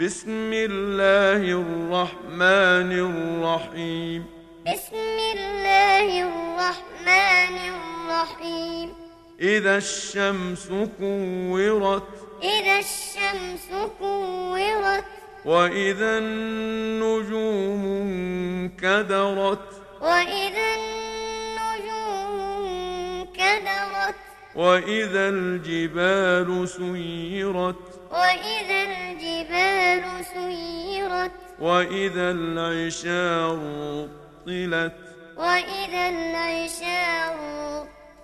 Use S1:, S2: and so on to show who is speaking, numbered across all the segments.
S1: بسم الله الرحمن الرحيم
S2: بسم الله الرحمن الرحيم
S1: إذا الشمس كورت
S2: إذا الشمس كورت
S1: وإذا النجوم انكدرت
S2: وإذا النجوم انكدرت
S1: وإذا الجبال سيرت
S2: وإذا الجبال سيرت
S1: وإذا العشار طلت
S2: وإذا العشار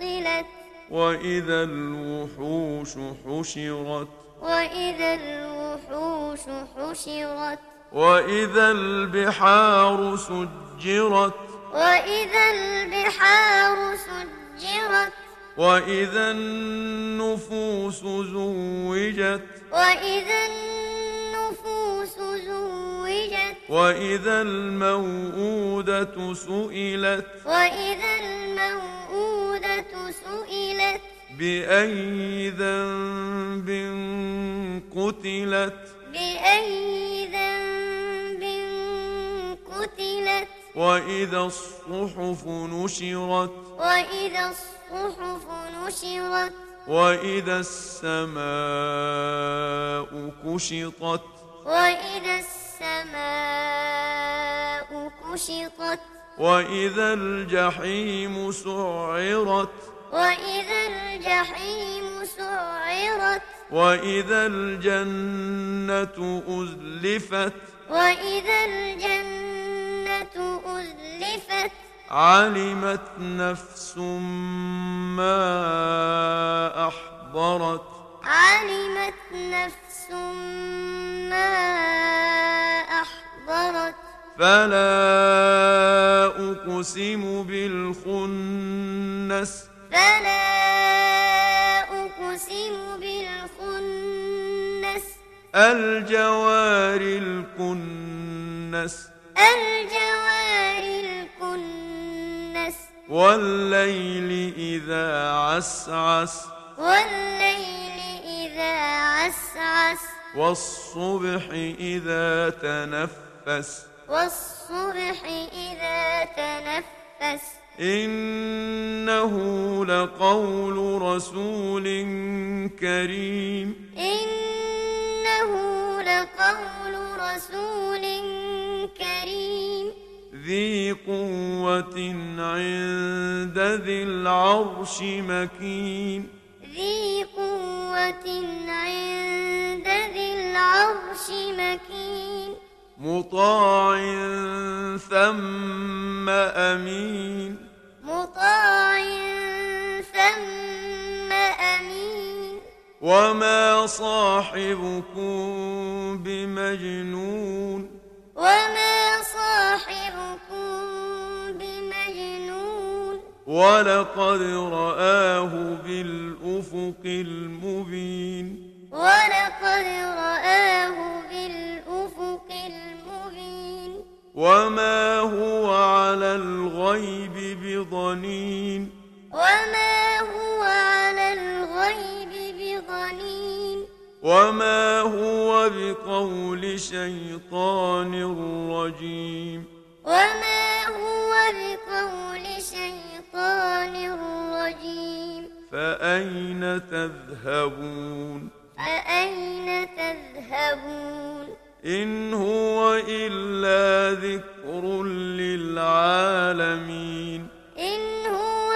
S2: طلت
S1: وإذا الوحوش حشرت
S2: وإذا الوحوش حشرت
S1: وإذا البحار سجرت
S2: وإذا البحار سجرت
S1: وإذا النفوس زوجت
S2: وإذا النفوس زوجت
S1: وإذا الموءودة سئلت
S2: وإذا الموءودة سئلت
S1: بأي ذنب قتلت
S2: بأي ذنب قتلت
S1: وإذا الصحف نشرت
S2: وإذا الصحف نشرت
S1: وإذا السماء كشطت
S2: وإذا السماء كشطت
S1: وإذا الجحيم سعرت
S2: وإذا الجحيم سعرت
S1: وإذا الجنة أزلفت
S2: وإذا الجنة أزلفت
S1: علمت نفس ما أحضرت
S2: علمت نفس ما أحضرت
S1: فلا أقسم بالخنس
S2: فلا أقسم بالخنس
S1: الجوار الكنس
S2: الجوار الكنس
S1: والليل إذا عسعس
S2: والليل إذا عسعس
S1: والصبح إذا تنفس
S2: والصبح إذا تنفس
S1: إنه لقول رسول كريم
S2: إنه لقول رسول كريم
S1: ذي قوة عند ذي العرش مكين
S2: ذي قوة عند ذي العرش مكين
S1: مطاع ثم أمين
S2: مطاع ثم أمين
S1: وما صاحبكم بمجنون
S2: وما صاحبكم بمجنون
S1: ولقد رآه بالأفق المبين
S2: ولقد رآه بالأفق المبين
S1: وما هو على الغيب بضنين
S2: وما هو على الغيب بضنين
S1: وما هو بقول شيطان رجيم
S2: وما هو بقول شيطان رجيم
S1: فأين تذهبون
S2: فأين تذهبون
S1: إن هو إلا ذكر للعالمين
S2: إن هو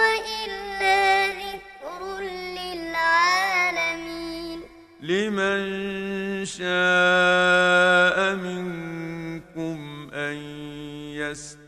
S2: إلا ذكر للعالمين
S1: لمن شاء منكم أن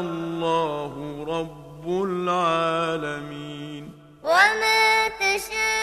S1: الله رب العالمين
S2: وما تشاءون